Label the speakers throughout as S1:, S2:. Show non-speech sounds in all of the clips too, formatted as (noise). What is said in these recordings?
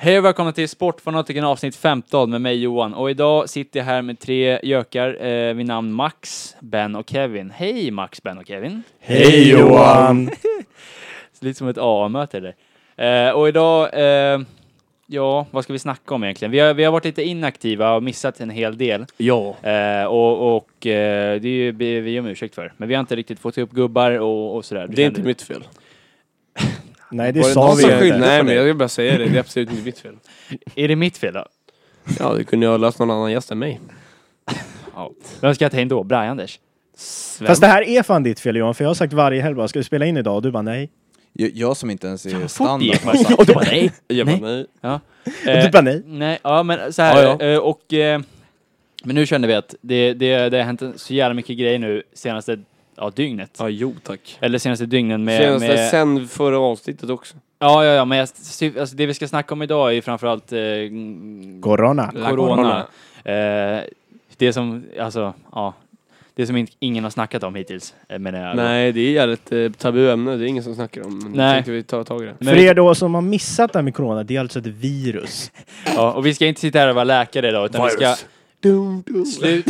S1: Hej och välkomna till Sportfanatiken avsnitt 15 med mig Johan och idag sitter jag här med tre gökar eh, vid namn Max, Ben och Kevin. Hej Max, Ben och Kevin.
S2: Hej Johan!
S1: Det lite som ett AA-möte det där. Eh, och idag, eh, ja vad ska vi snacka om egentligen? Vi har, vi har varit lite inaktiva och missat en hel del.
S2: Ja.
S1: Eh, och och eh, det är ju, vi vi om ursäkt för. Men vi har inte riktigt fått ihop gubbar och, och sådär.
S3: Det är inte mitt fel.
S2: Nej, det
S3: Var det
S2: sa
S3: någon
S2: vi
S3: som
S2: ju
S3: skyllde?
S2: inte.
S3: Nej men jag vill bara säga det, det är absolut inte mitt fel.
S1: Är det mitt fel då?
S3: Ja, det kunde jag ha löst någon annan gäst än mig.
S1: Vem ska jag ta in då? Brian-Anders?
S2: Fast det här är fan ditt fel Johan, för jag har sagt varje helg bara, ska vi spela in idag? Och du bara nej.
S4: Jag, jag som inte ens är
S1: Fort
S4: standard.
S1: gick (laughs) man sagt. Och du bara nej. Eh,
S3: Jag
S1: bara,
S3: nej.
S2: Och du bara nej.
S1: Nej, ja men så här.
S3: Ja, ja.
S1: eh, Och, eh, men nu kände vi att det, det, det har hänt så jävla mycket grejer nu senaste ja, dygnet.
S3: Ja, jo tack.
S1: Eller senaste dygnen med...
S3: Senast
S1: med
S3: sen förra avsnittet också.
S1: ja, ja, ja, men jag, syf- alltså, det vi ska snacka om idag är ju framförallt eh, mm,
S2: Corona.
S3: La
S1: corona.
S3: corona.
S1: Eh, det som, alltså, ja. Det som in, ingen har snackat om hittills, eh, menar jag.
S3: Nej, det är jävligt eh, tabu ämne, det är ingen som snackar om. Men
S1: Nej.
S3: nej. tänkte vi ta tag i det.
S1: Men,
S2: För er då som har missat det här med corona, det är alltså ett virus.
S1: ja, och vi ska inte sitta här och vara läkare idag, utan vi ska...
S3: Dum, dum.
S1: Slut.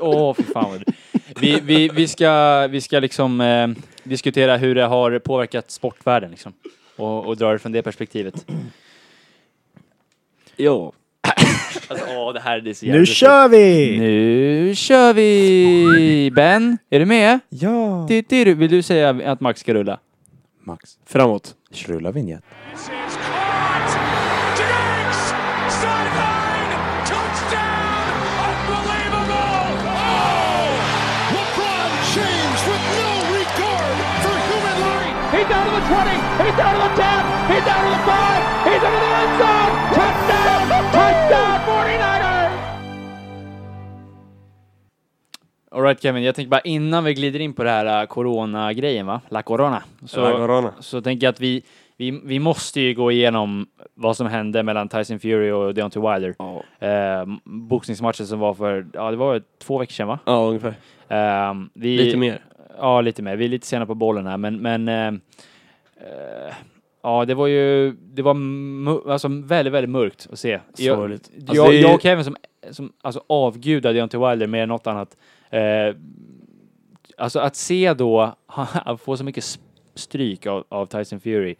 S1: Åh, för fan vad det... vi, vi, vi ska, vi ska liksom eh, diskutera hur det har påverkat sportvärlden liksom. Och, och dra det från det perspektivet.
S3: Ja.
S1: Alltså, åh, det här det är så
S2: Nu kör vi!
S1: Nu kör vi! Ben, är du med?
S4: Ja.
S1: Titti, du- Vill du säga att Max ska rulla?
S4: Max,
S3: Framåt.
S4: rulla vinjett.
S5: This is caught. Diggs! Sideline! Touchdown! Unbelievable! Oh! LeBron James with no regard for human life! He's down to the 20! He's down to the 10! He's down to the 5! He's into the end zone! Touchdown! Touchdown! 49ers!
S1: Alright Kevin, jag tänker bara innan vi glider in på det här eh, corona-grejen va? La corona. Så,
S3: La corona.
S1: så tänker jag att vi, vi, vi måste ju gå igenom vad som hände mellan Tyson Fury och Deontay Wilder.
S3: Ja.
S1: Eh, boxningsmatchen som var för, ja det var två veckor sedan va?
S3: ja, ungefär.
S1: Eh, vi,
S3: Lite mer.
S1: Ja, lite mer. Vi är lite sena på bollen här, men, men eh, eh, ja, det var ju, det var mu- alltså, väldigt, väldigt mörkt att se. Jag,
S3: Sorgligt.
S1: jag,
S3: Alltså, det är ju-
S1: jag och Kevin som, som alltså, avgudade Deontay Wilder mer än något annat. Eh, alltså att se då, (laughs) han få så mycket s- stryk av, av Tyson Fury.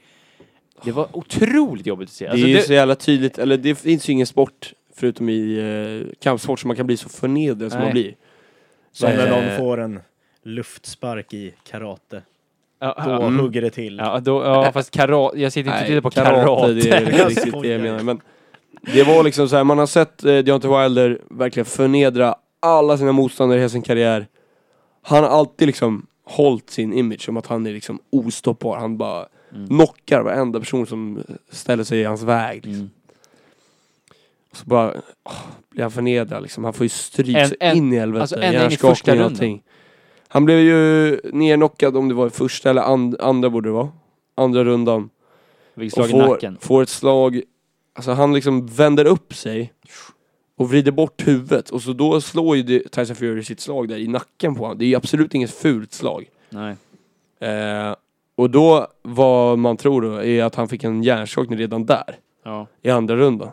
S1: Det var otroligt jobbigt att se. Alltså,
S3: det är ju
S1: det-
S3: så jävla tydligt, eller det finns ju ingen sport förutom i eh, kampsport som man kan bli så förnedrad som
S1: Nej.
S3: man blir.
S2: Som när
S3: Eh.
S2: någon får en luftspark i karate.
S1: ja,
S2: Då
S1: ja,
S2: hugger det till.
S1: ja, då, ja, fast karate, jag sitter inte och tittar på karate.
S3: Det är
S2: Jag
S3: inte riktigt det
S2: skojar.
S3: jag menar. Men det var liksom så här, man har sett eh, Deontay Wilder verkligen förnedra alla sina motståndare i hela sin karriär. Han har alltid liksom hållit sin image som att han är liksom ostoppbar. Han bara
S1: Mm.
S3: knockar varenda person som ställer sig i hans väg. Liksom.
S1: Mm.
S3: Och så bara åh, blir han förnedrad liksom. Han får ju stryk
S1: En-
S3: så
S1: en-
S3: in i helvete.
S1: alltså, ända in i
S3: Hjärnskakning
S1: första
S3: och
S1: rundan.
S3: allting. Han blev ju nerknockad om det var i första eller and, andra borde det vara. Andra rundan.
S1: Vilket
S3: Och
S1: slag i
S3: får,
S1: nacken.
S3: får ett slag, alltså han liksom vänder upp sig och vrider bort huvudet och så då slår ju det- Tyson Fury sitt slag där i nacken på honom. Det är ju absolut inget fult slag.
S1: Nej.
S3: Eh, och då, vad man tror då, är att han fick en hjärnskakning redan där,
S1: Ja.
S3: i andra rundan.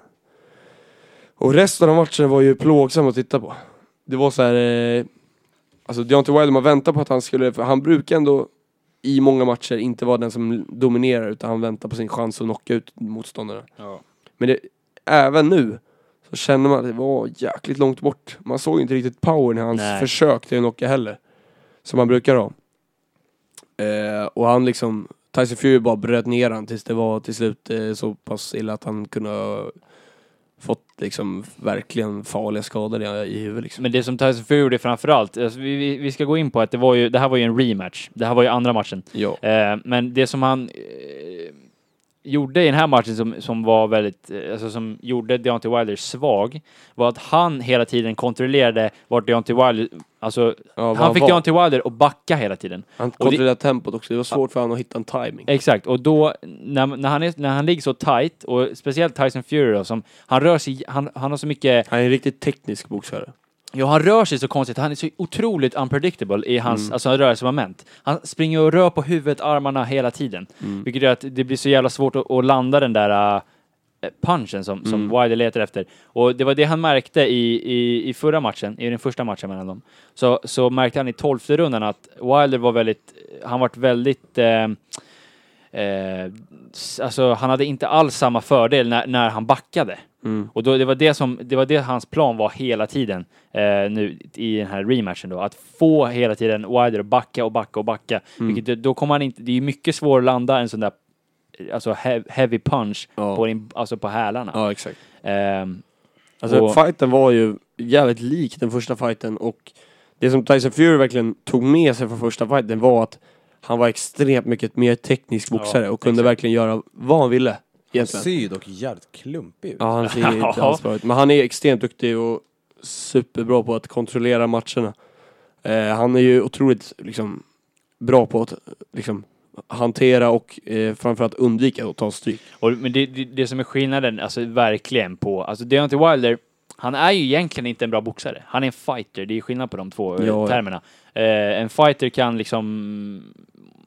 S3: Och resten av matchen var ju plågsam att titta på. Det var så här, eh, alltså Deontay Wilder, man väntar på att han skulle, för han brukar ändå i många matcher inte vara den som dominerar utan han väntar på sin chans att knocka ut motståndarna.
S1: Ja.
S3: Men det, även nu så känner man att det var jäkligt långt bort. Man såg ju inte riktigt powern i hans
S1: Nej.
S3: försök till att knocka heller. Som man brukar ha. Eh, och han liksom, Tyson Fury bara bröt ner han tills det var till slut eh, så pass illa att han kunde ha fått liksom verkligen farliga skador i, i huvudet liksom.
S1: Men det som Tyson Fury gjorde framförallt, alltså vi, vi, vi ska gå in på att det var ju, det här var ju en rematch. Det här var ju andra matchen.
S3: Ja.
S1: Eh, men det som han eh, gjorde i den här matchen som, som var väldigt, eh, alltså som gjorde Deontay Wilder svag, var att han hela tiden kontrollerade vart Deontay Wilder, alltså
S3: Ja, vad
S1: han fick
S3: var.
S1: Deontay Wilder att backa hela tiden.
S3: Han
S1: det-
S3: kontrollerade tempot också, det var svårt för honom att hitta en timing.
S1: Exakt, och då när, när, han, är, när han ligger så tight, och speciellt Tyson Fury då, som, han rör sig, han, han har så mycket
S3: Han är en riktigt teknisk boxare.
S1: Ja, han rör sig så konstigt. Han är så otroligt unpredictable i hans alltså, rörelsemoment. Han springer och rör på huvudet, armarna hela tiden. Vilket gör att det blir så jävla svårt att, att landa den där äh, eh, punchen som, som Wilder letar efter. Och det var det han märkte i, i, i förra matchen, i den första matchen mellan dem. Så, så märkte han i tolfte rundan att Wilder var väldigt, han vart väldigt eh, Eh, s- alltså han hade inte alls samma fördel när, när han backade. Och då, det, var det, som, det var det hans plan var hela tiden eh, nu i den här rematchen då. Att få hela tiden Wilder att backa och backa och backa. Vilket, då kommer han inte, det är mycket svårare att landa en sån där eh, alltså he- heavy punch
S3: Ja.
S1: på, din, alltså på hälarna.
S3: Ja, exakt.
S1: Ehm,
S3: Alltså
S1: Och-
S3: fighten var ju jävligt lik den första fighten och det som Tyson Fury verkligen tog med sig från första fighten var att han var extremt mycket mer teknisk boxare och kunde verkligen göra vad han ville.
S4: Han
S3: Egentligen.
S4: ser ju dock jävligt klumpig ut.
S3: Ja, han ser ju inte
S1: (laughs) Ja.
S3: alls bra ut. Men han är extremt duktig och superbra på att kontrollera matcherna. Eh, han är ju otroligt liksom, bra på att liksom, hantera och eh, framförallt undvika att ta stryk.
S1: Och, men det, det, det som är skillnaden, alltså verkligen på, alltså Deontay Wilder, han är ju egentligen inte en bra boxare. Han är en fighter, det är skillnad på de två eh,
S3: Ja.
S1: termerna. Eh, en fighter kan liksom,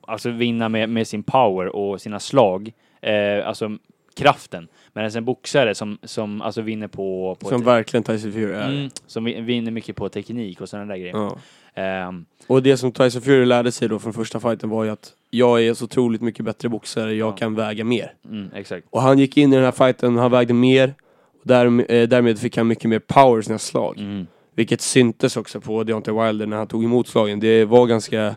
S1: alltså vinna med, med sin power och sina slag, eh, alltså kraften. Medan en boxare som, som alltså vinner på... på
S3: Som
S1: te-
S3: verkligen Tyson Fury är.
S1: mm, som vin- vinner mycket på teknik och sådana där grejer.
S3: Ja.
S1: Ehm,
S3: Och det som Tyson Fury lärde sig då från första fighten var ju att jag är så otroligt mycket bättre boxare, jag
S1: Ja.
S3: kan väga mer.
S1: mm, exakt.
S3: Och han gick in i den här fighten, han vägde mer. Och där, eh, därmed fick han mycket mer power i sina slag.
S1: Mm.
S3: Vilket syntes också på Deontay Wilder när han tog emot slagen. Det var ganska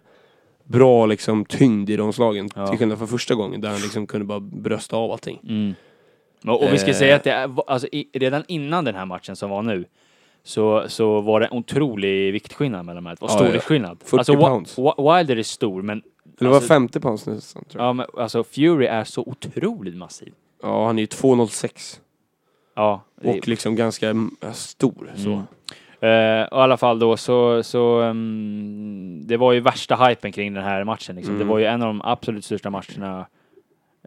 S3: bra liksom tyngd i de slagen.
S1: Ja.
S3: Till skillnad från första gången där han liksom kunde bara brösta av allting.
S1: Mm. Och, och vi ska
S3: Eh.
S1: säga att det är, alltså, i, redan innan den här matchen som var nu så, så var det en otrolig viktskillnad mellan de här. Det var
S3: Ja,
S1: storleksskillnad.
S3: 40
S1: Alltså, Wi-
S3: pounds.
S1: Wi- Wilder är stor, men,
S3: Eller det var
S1: Alltså-
S3: 50 pounds nästan tror jag.
S1: ja, men alltså, Fury är så otroligt massiv.
S3: Ja, han är ju 2,06.
S1: Ja, det-
S3: Och liksom ganska mm, stor. Så.
S1: Mm. Eh, och I alla fall då så, så mm, det var ju värsta hypen kring den här matchen. Liksom.
S3: Mm.
S1: Det var ju en av de absolut största matcherna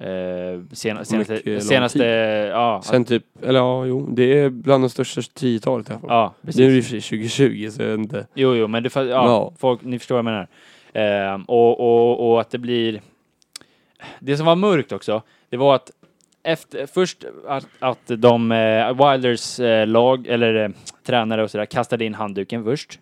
S1: eh, sena,
S3: Mycket
S1: senaste,
S3: lång
S1: senaste ja, att-
S3: Sen typ, eller ja, jo, det är bland de största 10-talet i alla fall.
S1: ja, precis.
S3: nu är det i och för sig 2020 så jag vet inte.
S1: Jo, jo, men det, fa- ja,
S3: Ja.
S1: Folk, ni förstår vad jag menar. Ehm, och, och, och att det blir... Det som var mörkt också, det var att efter, först att, att de, eh, Wilders eh, lag, eller eh, tränare och sådär, kastade in handduken först.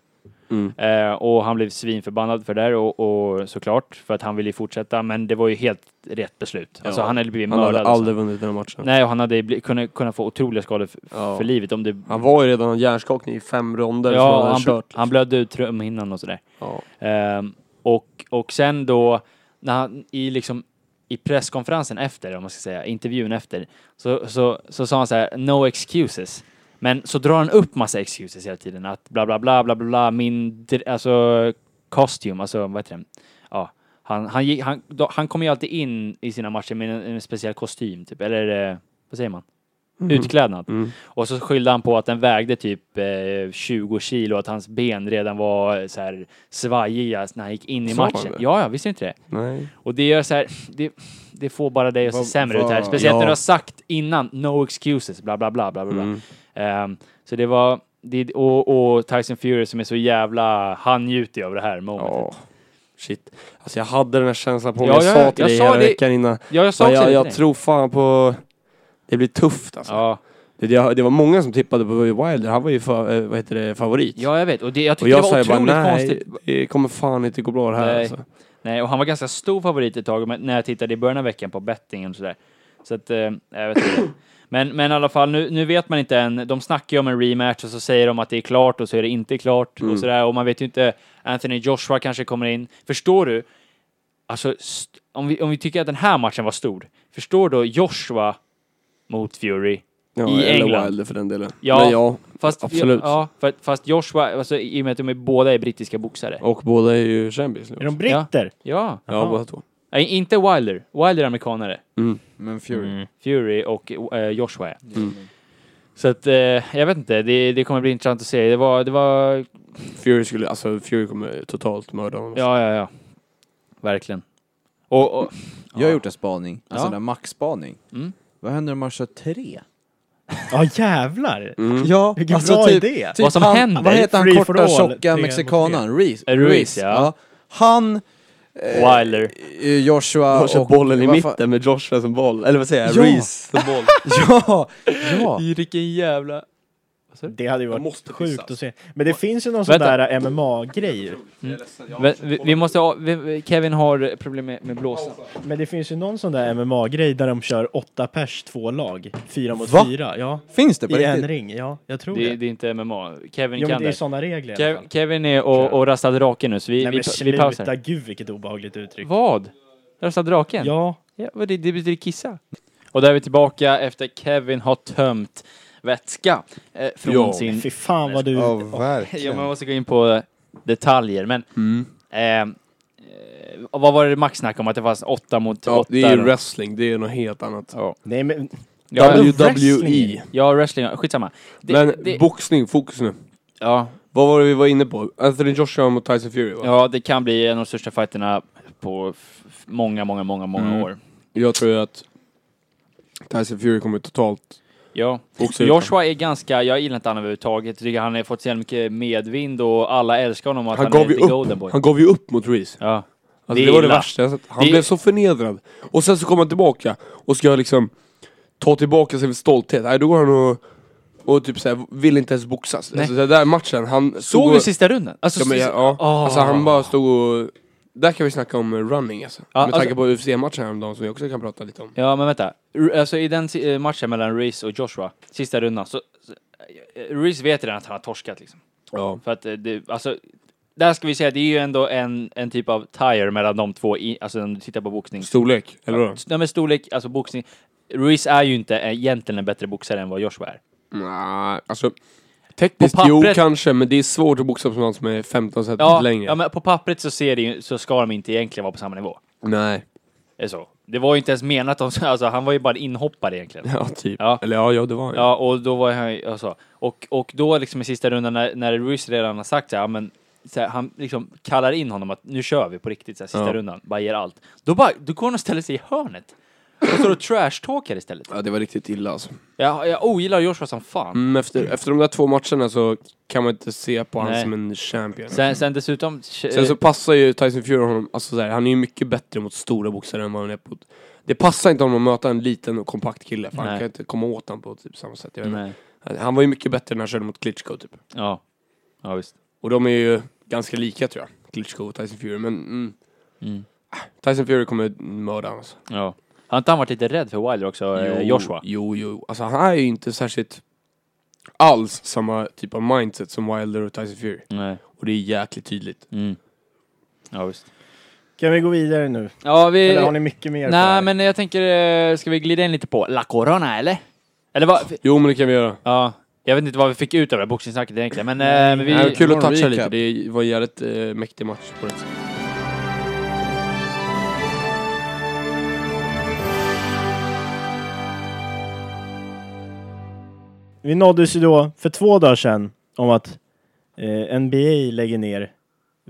S3: Mm.
S1: Eh, och han blev svinförbannad för det där och, och såklart, för att han ville ju fortsätta, men det var ju helt rätt beslut. Alltså
S3: Ja.
S1: han hade blivit
S3: Han
S1: mördad.
S3: hade
S1: och så.
S3: aldrig vunnit den här matchen.
S1: Nej, och han hade bli, kunnat, kunnat få otroliga skador för,
S3: Ja.
S1: för livet om det...
S3: Han var ju redan en hjärnskakning i fem ronder som han
S1: ja,
S3: hade
S1: han,
S3: kört. liksom.
S1: han blödde ut trumhinnan och sådär.
S3: Ja.
S1: Ehm, och, och sen då, när han, i, liksom, i presskonferensen efter, om man ska säga, intervjun efter, så, så, så sa han så här, no excuses. Men så drar han upp massa excuses hela tiden, att bla bla bla bla bla, bla min, dr- alltså, costume, alltså vad heter det? Ja, han, han, gick- han, då, han kommer ju alltid in i sina matcher med en, en speciell kostym, typ, eller eh, vad säger man? Utklädnad.
S3: Mm.
S1: Och så skyllde han på att den vägde typ eh, 20 kilo och att hans ben redan var eh, så här svajiga när han gick in i
S3: Sa han
S1: matchen.
S3: det?
S1: Ja, ja, visste inte det?
S3: Nej.
S1: Och det gör så här, det, det får bara dig att se
S4: Vad-
S1: sämre ut här.
S4: vad-
S1: Speciellt
S3: ja.
S1: när du har sagt innan, no excuses, bla bla bla bla bla. bla.
S3: Mm.
S1: Ehm, så det var, det, och, och Tyson Fury som är så jävla, han njuter ju av det här momentet.
S3: Ja. Shit. Alltså jag hade den här känslan på mig.
S1: Ja,
S3: jag
S1: ja,
S3: sa till
S1: jag
S3: dig
S1: sa
S3: hela
S1: det-
S3: veckan innan.
S1: Ja, jag sa
S3: Men
S1: också
S3: jag,
S1: det
S3: jag
S1: till dig.
S3: tror fan på... Det blir tufft alltså.
S1: Ja.
S3: Det, det, det var många som tippade på Wilder. Han var ju fa, eh, vad heter det, favorit.
S1: ja, jag vet. Och det, jag
S3: och
S1: tyckte
S3: jag
S1: det
S3: sa
S1: var
S3: ju bara
S1: otroligt
S3: nej,
S1: konstigt.
S3: det kommer fan inte gå bra det här
S1: Nej.
S3: alltså.
S1: Nej, och han var ganska stor favorit ett tag men när jag tittade i början av veckan på bettingen och sådär. Så att, eh, jag vet inte. Men, men i alla fall, nu, nu vet man inte än. De snackar ju om en rematch och så säger de att det är klart och så är det inte klart
S3: Mm.
S1: och sådär. Och man vet ju inte, Anthony Joshua kanske kommer in. Förstår du? Alltså, st- om vi, om vi tycker att den här matchen var stor, förstår då Joshua mot Fury?
S3: Ja,
S1: I
S3: eller
S1: England.
S3: Wilder för den delen.
S1: Ja.
S3: Men ja,
S1: Fast,
S3: Absolut.
S1: Ja, för, fast Joshua, alltså, i och med att de är, båda är brittiska boxare.
S3: och båda är ju Champions
S2: Är
S3: League.
S2: de britter?
S1: Ja.
S3: Ja, båda två.
S1: Nej, inte Wilder. Wilder är amerikanare. Mm.
S4: Men Fury.
S1: Fury och eh, Joshua. Så att, eh, jag vet inte, det, det kommer bli intressant att se. Det var, det var,
S3: Fury skulle, alltså Fury kommer totalt mörda honom.
S1: ja, ja, ja. Verkligen. Och, och
S4: Jag har gjort en spaning. Alltså
S1: Ja.
S4: en maxspaning.
S1: Mm.
S4: Vad händer om man kör tre?
S2: Ja jävlar!
S6: Mm.
S4: Ja, alltså typ-
S2: Vilken bra idé.
S1: Vad som
S4: han,
S1: händer?
S4: Vad heter han
S2: Free for
S4: korta
S2: all, tre
S4: tjocka
S2: mot
S4: mexikanen? Ruiz?
S1: Eh, Ruiz, ja.
S4: Han eh,
S1: Wilder.
S4: Eh, Joshua
S3: Han kör
S4: och...
S3: bollen i
S4: vad fan-
S3: mitten med Joshua som boll, eller vad säger jag?
S4: Ja.
S3: Reese som
S4: (laughs)
S3: boll.
S4: Ja! ja.
S1: Vilken jävla...
S2: Det hade ju varit
S3: måste
S2: sjukt
S3: pissa.
S2: att se. Men det finns ju någon sån
S1: Vänta.
S2: där MMA-grej.
S1: Men vi, vi måste ha, vi- vi, Kevin har problem med, med blåsan.
S2: Men det finns ju någon sån där MMA-grej där de kör åtta pers, två lag. Fyra mot
S4: Va?
S2: fyra. Ja.
S4: Finns det på
S2: I en
S4: riktigt?
S2: ring. Ja, jag tror
S1: Det,
S2: det.
S1: det är inte MMA. Kevin
S2: Jo, men
S1: kan
S2: det är
S1: det.
S2: såna regler i alla
S1: Kev,
S2: fall.
S1: Kevin är och, och rastad drake nu, så vi,
S2: Nej
S1: vi,
S2: men
S1: pa- vi pausar. Mm.
S2: sluta, gud vilket obehagligt uttryck.
S1: Vad? Rastad draken?
S2: Ja,
S1: Ja, vad det, det betyder kissa. Och där är vi tillbaka efter Kevin har tömt vätska eh, från
S3: Ja.
S1: sin...
S2: fy fan vad du...
S6: Ja,
S1: Ja, man
S6: verkligen.
S1: måste gå in på eh, detaljer, men...
S3: Mm.
S1: ehm, Eh, och vad var det Max snackade om? Att det fanns åtta mot
S3: Ja,
S1: åtta?
S3: det är ju
S1: då?
S3: wrestling, det är något helt annat.
S2: Nej men,
S1: ja,
S2: W-
S3: WWE.
S1: ja, wrestling. ja, Skitsamma. Det,
S3: E. Men
S1: det,
S3: boxning, fokus nu.
S1: ja,
S3: Vad var det vi var inne på? Anthony Joshua mot Tyson Fury va?
S1: ja, det kan bli en av de största fighterna på f- f- många, många, många, många
S3: Mm.
S1: år.
S3: Jag tror ju att Tyson Fury kommer totalt
S1: Ja.
S3: boxa ut honom.
S1: Joshua är ganska, jag gillar inte han överhuvudtaget. Jag tycker han har fått så jävla mycket medvind och alla älskar honom och att han,
S3: Han gav
S1: är
S3: ju
S1: the golden boy.
S3: upp, han gav ju upp mot Reese.
S1: Ja.
S3: Alltså,
S1: Det
S3: det, var det
S1: gillar.
S3: värsta jag sett. Han
S1: Det-
S3: blev så förnedrad. Och sen så kommer han tillbaka och ska liksom ta tillbaka sin stolthet. Nej, då går han och, och typ såhär, vill inte ens boxas.
S1: Nej.
S3: Alltså, den där matchen, han stod
S1: Såg
S3: och,
S1: du sista runden? Alltså,
S3: ja, men,
S1: sista-
S3: ja.
S1: Åh.
S3: alltså han bara stod och... Där kan vi snacka om running alltså.
S1: Ja,
S3: Med tanke på UFC-matchen häromdagen som vi också kan prata lite om.
S1: Ja, men vänta. R- Alltså i den si- eh, matchen mellan Reese och Joshua, sista rundan, så... så eh, Reese vet redan att han har torskat liksom.
S3: Ja.
S1: För att eh, det, alltså... Där ska vi säga, det är ju ändå en, en typ av tire mellan de två, i, alltså om du tittar på boxning.
S3: Storlek, eller hur?
S1: Nej men storlek, alltså boxning. Reese är ju inte eh, egentligen en bättre boxare än vad Joshua är.
S3: Nej, alltså... Tekniskt
S1: På
S3: jo
S1: pappret-
S3: kanske, men det är svårt att boxa på någon som är 15 cm
S1: Ja,
S3: längre.
S1: ja men på pappret så ser det ju, så ska de inte egentligen vara på samma nivå.
S3: Nej. (laughs)
S1: Det är så. Det var ju inte ens menat om, (laughs) alltså han var ju bara en inhoppare egentligen.
S3: Ja, typ.
S1: Ja.
S3: Eller ja, ja, det var han.
S1: Ja, och då var han ju- alltså, och, och då liksom i sista rundan när, när Ruiz redan har sagt så här, ja, men så här, han liksom kallar in honom att nu kör vi på riktigt, så här, sista
S3: Ja.
S1: rundan, bara ger allt. Då, bara, då går han och ställer sig i hörnet. Och står och trashtalkar istället.
S3: ja, det var riktigt illa alltså.
S1: Jag, jag ogillar Joshua som fan.
S3: Mm, efter, efter de där två matcherna så kan man inte se på honom
S1: Nej. eh,
S3: som en champion. Sen,
S1: Sen, sen dessutom...
S3: så passar ju Tyson Fury honom, alltså så här, han är ju mycket bättre mot stora boxare än vad han är på... Det passar inte honom att möta en liten och kompakt kille, för
S1: Nej.
S3: han kan inte komma åt honom på typ samma sätt. Jag vet inte.
S1: eh, nej.
S3: Han var ju mycket bättre när han körde mot Klitschko typ.
S1: Ja. ja, visst.
S3: Och de är ju ganska lika tror jag, Klitschko och Tyson Fury, men mm, Ah,
S1: Mm.
S3: Tyson Fury kommer mörda honom alltså.
S1: Ja. Har inte han varit lite rädd för Wilder också, eh, Joshua?
S3: Jo, jo. Alltså han är ju inte särskilt alls samma typ av mindset som Wilder och Tyson Fury.
S1: Nej.
S3: Och det är jäkligt tydligt.
S1: Mm. Ja, visst.
S2: kan vi gå vidare nu?
S1: Ja, vi...
S2: Eller har ni mycket mer? på det
S1: Eh, Nej,
S2: här?
S1: men jag tänker, eh, ska vi glida in lite på La Corona, eller? Eller vad?
S3: Jo, men det kan vi göra.
S1: Ja, jag vet inte vad vi fick ut av det här boxningssnacket egentligen, men, eh, men vi...
S3: Nej, kul att
S4: någon
S3: toucha lite.
S4: recap.
S3: Det var en jävligt eh, mäktig match på det sättet.
S2: Vi nåddes ju då för två dagar sedan om att eh, NBA lägger ner,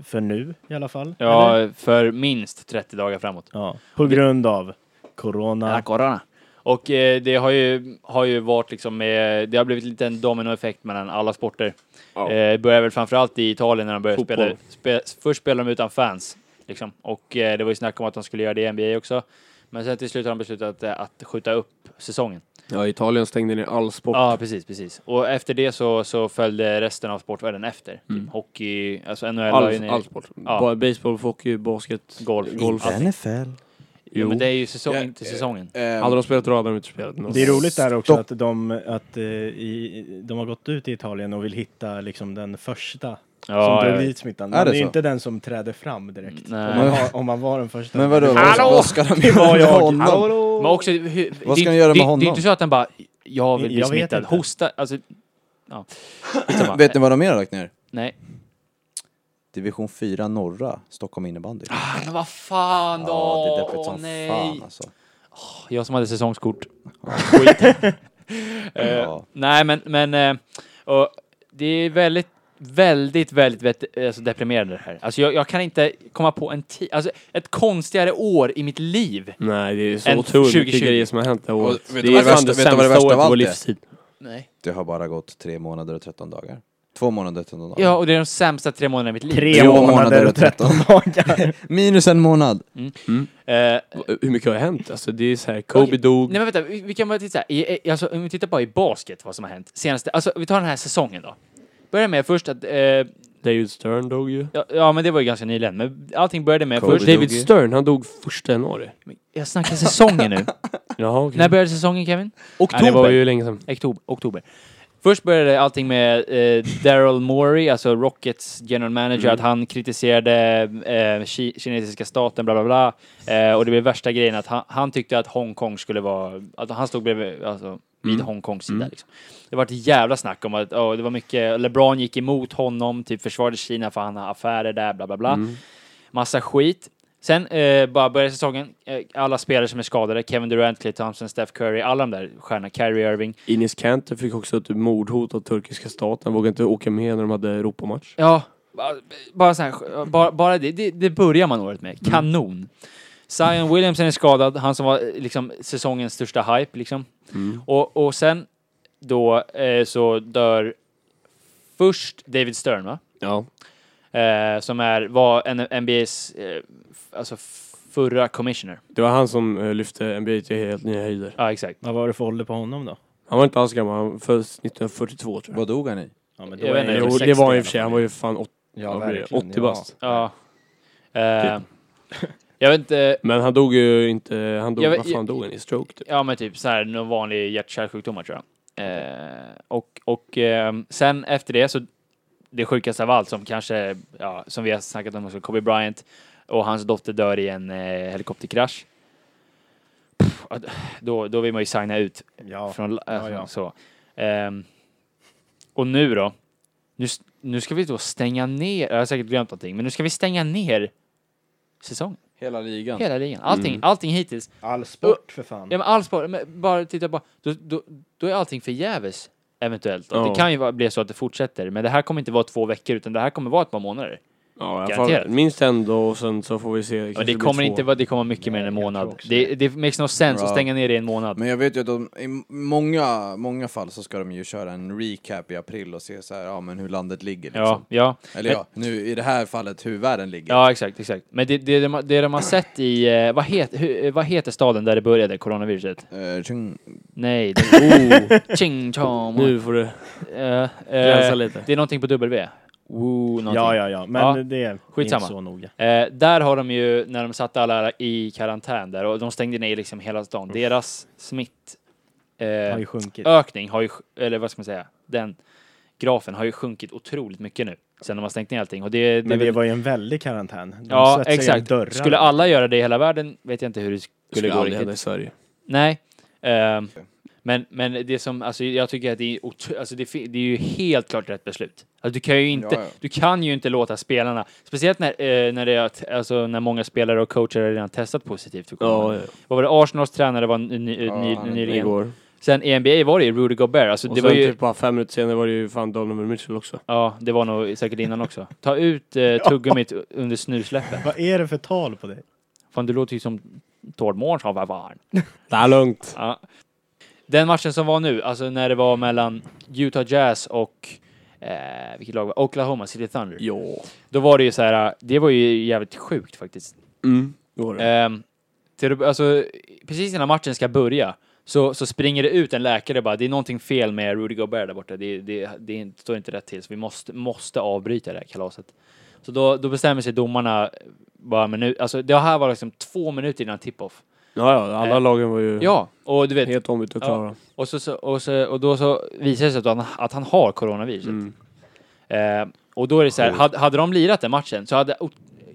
S2: för nu i alla fall. eller?
S1: Ja, för minst 30 dagar framåt.
S2: ja. På grund av corona.
S1: La Corona. Och eh, det har ju, har ju varit liksom, eh, det har blivit lite en dominoeffekt mellan alla sporter.
S3: Ja.
S1: Eh, börjar väl framförallt i Italien när de började
S3: Fotboll.
S1: spela. Spe, först spelade de utan fans, liksom. Och eh, det var ju snack om att de skulle göra det i NBA också. Men sen till slut har de beslutat eh, att skjuta upp säsongen.
S3: Ja, Italien stängde ner all sport.
S1: Ja, precis, precis. Och efter det så, så följde resten av sportvärlden efter. Typ
S3: Mm.
S1: Hockey, alltså NHL har ju
S3: all,
S1: ner-
S3: all sport.
S1: Ja.
S3: Bara Baseball, hockey, basket,
S1: golf.
S3: golf.
S1: Allt.
S6: NFL.
S1: Jo. Men det är ju säsong,
S4: Ja,
S1: inte säsongen.
S4: Ehm,
S3: Hade de spelat då hade de inte spelat.
S2: Det är roligt där också
S4: Stopp.
S2: att, de, att eh, i, de har gått ut i Italien och vill hitta liksom, den första som drog dit smittan.
S4: Är
S2: Man är,
S4: det
S2: ju
S4: så? Mm,
S2: inte den som träder fram direkt. Om
S1: Nej.
S2: man, har, om man var den första.
S4: Men vadå, vad,
S1: Hallå!
S4: vad ska de
S2: var
S4: göra med
S2: jag.
S4: honom?
S1: Men också, hur,
S4: Vad
S1: det-
S4: ska han göra med
S1: det, Det är
S4: honom?
S1: inte så att han bara, jag vill bli
S2: Jag vet
S1: smittad,
S2: inte.
S1: hosta, alltså... Ja. Skitsamma.
S4: Vet ni vad de mer har lagt ner?
S1: Nej.
S6: Division 4 norra, Stockholm innebandy.
S1: Men vad fan då!
S6: Ja, det är deppigt
S1: Åh,
S6: som
S1: nej.
S6: fan alltså.
S1: Jag som hade säsongskort. Skit. (laughs) Eh,
S6: Ja.
S1: Nej, men, men eh, och det är väldigt, väldigt, väldigt vet, alltså deprimerande det här. Alltså jag, jag kan inte komma på en ti- alltså ett konstigare år i mitt liv.
S3: Nej, det är så
S1: En
S3: otroligt
S1: 2020.
S3: mycket grejer som har hänt det här året.
S4: Och vet du vad det värsta- vet du vad det värsta av
S3: i vår
S4: allt är?
S3: livstid.
S1: Nej.
S6: Det har bara gått tre månader och 13 dagar. Två månader och 13 dagar.
S1: Ja, och det är de sämsta tre månaderna i mitt liv.
S2: Tre
S6: Tre
S2: månader och 13
S4: (laughs)
S2: dagar.
S6: Minus en månad.
S1: Eh,
S3: Hur mycket har hänt? Alltså det är så här, Kobe dog.
S1: Nej men vänta, vi vi kan bara titta så här. I, i, alltså, om vi tittar bara i basket vad som har hänt. Senaste, alltså vi tar den här säsongen då. Börjar med först att, eh, ja,
S3: David Stern dog ju.
S1: ja men det var ju ganska nyligen, men allting började med
S6: Kobe
S1: först...
S6: dog.
S3: David
S6: ju.
S3: Stern, han dog första januari.
S1: Jag snackar säsongen nu.
S3: Jaha, okej.
S1: När började säsongen Kevin?
S3: Oktober. det var ju länge sedan.
S1: Oktober. oktober. Först började allting med eh, Daryl Morey, alltså Rockets general manager, att han kritiserade eh, ki- kinesiska staten, bla bla bla. Eh, och det blev värsta grejen att han, han tyckte att Hongkong skulle vara, att han stod bredvid, alltså vid Hongkongs sida liksom. Det var ett jävla snack om att, oh, det var mycket, LeBron gick emot honom, typ försvarade Kina för han har affärer där, bla bla bla. Massa skit. Sen eh, bara började säsongen, eh, alla spelare som är skadade, Kevin Durant, Klay Thompson, Steph Curry, alla de där stjärnorna, Kyrie Irving.
S3: Ines Kanter fick också ett mordhot av turkiska staten. Vågade inte åka med när de hade Europamatch.
S1: Ja, bara- bara, så här, bara, bara det, det, det börjar man året med. Kanon. Zion Williamson är skadad, han som var eh, liksom säsongens största hype liksom. Och, och sen då eh, så dör först David Stern va?
S3: Ja.
S1: Eh, som är, var en NBA's, eh, f- alltså förra commissioner.
S3: Det var han som eh, lyfte NBA till helt nya höjder.
S1: Ja, exakt.
S2: Vad var det för ålder på honom då?
S3: Han var inte alls gammal, han föddes 1942 tror jag.
S6: Vad dog han i?
S2: Ja, men
S1: Jag vet inte, jag
S2: det
S3: Jo,
S2: väl
S3: det
S2: 60
S3: var han i
S2: alla
S3: och för sig.
S2: fall.
S3: Han var ju fan åt,
S2: Ja,
S3: vad blir det?
S2: verkligen,
S3: 80
S2: ja.
S3: bast.
S1: Ja. Eh, jag vet inte,
S3: Men han dog ju inte... Han dog,
S1: Jag vet-
S3: vad fan dog han i? Stroke typ.
S1: Ja men typ så här någon vanlig hjärt-kärlsjukdomar tror jag. Eh, och och ehm, sen efter det så det sjukaste av allt som kanske, ja, som vi har snackat om, också, Kobe Bryant och hans dotter dör i en eh, helikopterkrasch. Pff, att- Då, då vill man ju signa ut
S2: Ja.
S1: från
S2: Ja, ja.
S1: äh, så. Ehm, och nu då? Nu, s- nu ska vi då stänga ner, jag har säkert glömt någonting, men nu ska vi stänga ner säsongen.
S6: Hela ligan.
S1: Hela ligan. Allting,
S2: Mm.
S1: allting hittills.
S2: All sport för fan.
S1: Ja men all sport, men bara titta på, då, då, då är allting förgäves eventuellt. Och
S3: Ja.
S1: Det kan ju vara- bli så att det fortsätter, men det här kommer inte vara två veckor utan det här kommer vara ett par månader.
S3: Ja, i alla
S1: Garanterat.
S3: fall, minst en då och sen så får vi se.
S1: Men
S3: kanske
S1: det
S3: blir
S1: kommer
S3: två.
S1: inte vara, det kommer mycket mer än en
S2: jag tror
S1: månad.
S2: också
S1: Det, det makes no sense att
S6: Ja.
S1: stänga ner det i en månad.
S6: Men jag vet ju att de, i många, många fall så ska de ju köra en recap i april och se så här, ja men hur landet ligger
S1: ja,
S6: liksom.
S1: ja,
S6: Eller ja, nu i det här fallet hur världen ligger.
S1: ja, exakt, exakt. Men det, det, de, har- det de har sett i, eh, vad, het, hur, eh, vad heter staden där det började, coronaviruset?
S6: Eh, tjing.
S1: Nej, det, oh, ching chong.
S3: Nu får du
S1: Eh, eh,
S3: rensa lite.
S1: det är någonting på W. Woo, någonting.
S2: Ja, ja, ja. Men
S1: Ja.
S2: det är
S1: Skitsamma.
S2: inte så noga.
S1: Eh, där har de ju, när de satte alla i karantän där och de stängde ner liksom hela stan, deras
S2: Det har
S1: smittökning
S2: ju sjunkit.
S1: eh, ökning har ju, sj- eller vad ska man säga, den grafen har ju sjunkit otroligt mycket nu sen de har stängt ner allting. Och det, det är
S2: Men det
S1: väl-
S2: var ju en väldig karantän. De
S1: ja,
S2: svetsade ju
S1: exakt.
S2: Dörrar.
S1: Skulle alla göra det i hela världen vet jag inte hur det skulle,
S3: skulle
S1: gå
S3: aldrig
S1: riktigt.
S3: hända i Sverige.
S1: Nej. Ehm, men, men det som, alltså jag tycker att det är, otro- alltså det, fi- det är ju helt klart rätt beslut. Alltså, du kan ju inte,
S6: Ja, ja.
S1: du kan ju inte låta spelarna, speciellt när, eh, när det är, att- alltså när många spelare och coacher redan testat positivt för corona.
S3: Ja, ja.
S1: Vad var det, Arsenals tränare var ny, ny,
S6: Ja, han är-
S1: nyligen.
S3: Igår.
S1: Sen i NBA var det ju Rudy Gobert, alltså
S3: Och
S1: det var ju,
S3: typ bara fem minuter senare var det ju fan Donovan Mitchell också.
S1: ja det var nog säkert innan också. Ta ut
S3: (laughs)
S1: eh, tuggummit under snusläppen.
S2: Vad är det för tal på dig?
S1: Fan du låter ju som Tord Mårts av varm.
S3: Det är lugnt.
S1: Ja. Den matchen som var nu, alltså när det var mellan Utah Jazz och eh, vilket lag var det? Oklahoma City Thunder.
S3: Ja.
S1: Då var det ju så här, eh, det var ju jävligt sjukt faktiskt.
S3: Mm. Det var det.
S1: Ehm, till, alltså, precis innan matchen ska börja så, så springer det ut en läkare och bara, det är någonting fel med Rudy Gobert där borta, det, det, det är inte- står inte rätt till, så vi måste, måste avbryta det här kalaset. Så då, då bestämmer sig domarna bara en minut, alltså det här var liksom två minuter innan tip-off.
S3: Ja, ja, alla
S1: Eh,
S3: lagen var ju
S1: Ja, och du vet,
S3: helt ombytta och
S1: Ja.
S3: klara.
S1: och, så, så, och, så, och då så visar det sig att han, att han har coronaviruset.
S3: Mm.
S1: Eh, och då är det så här, hade, hade de lirat den matchen så hade o-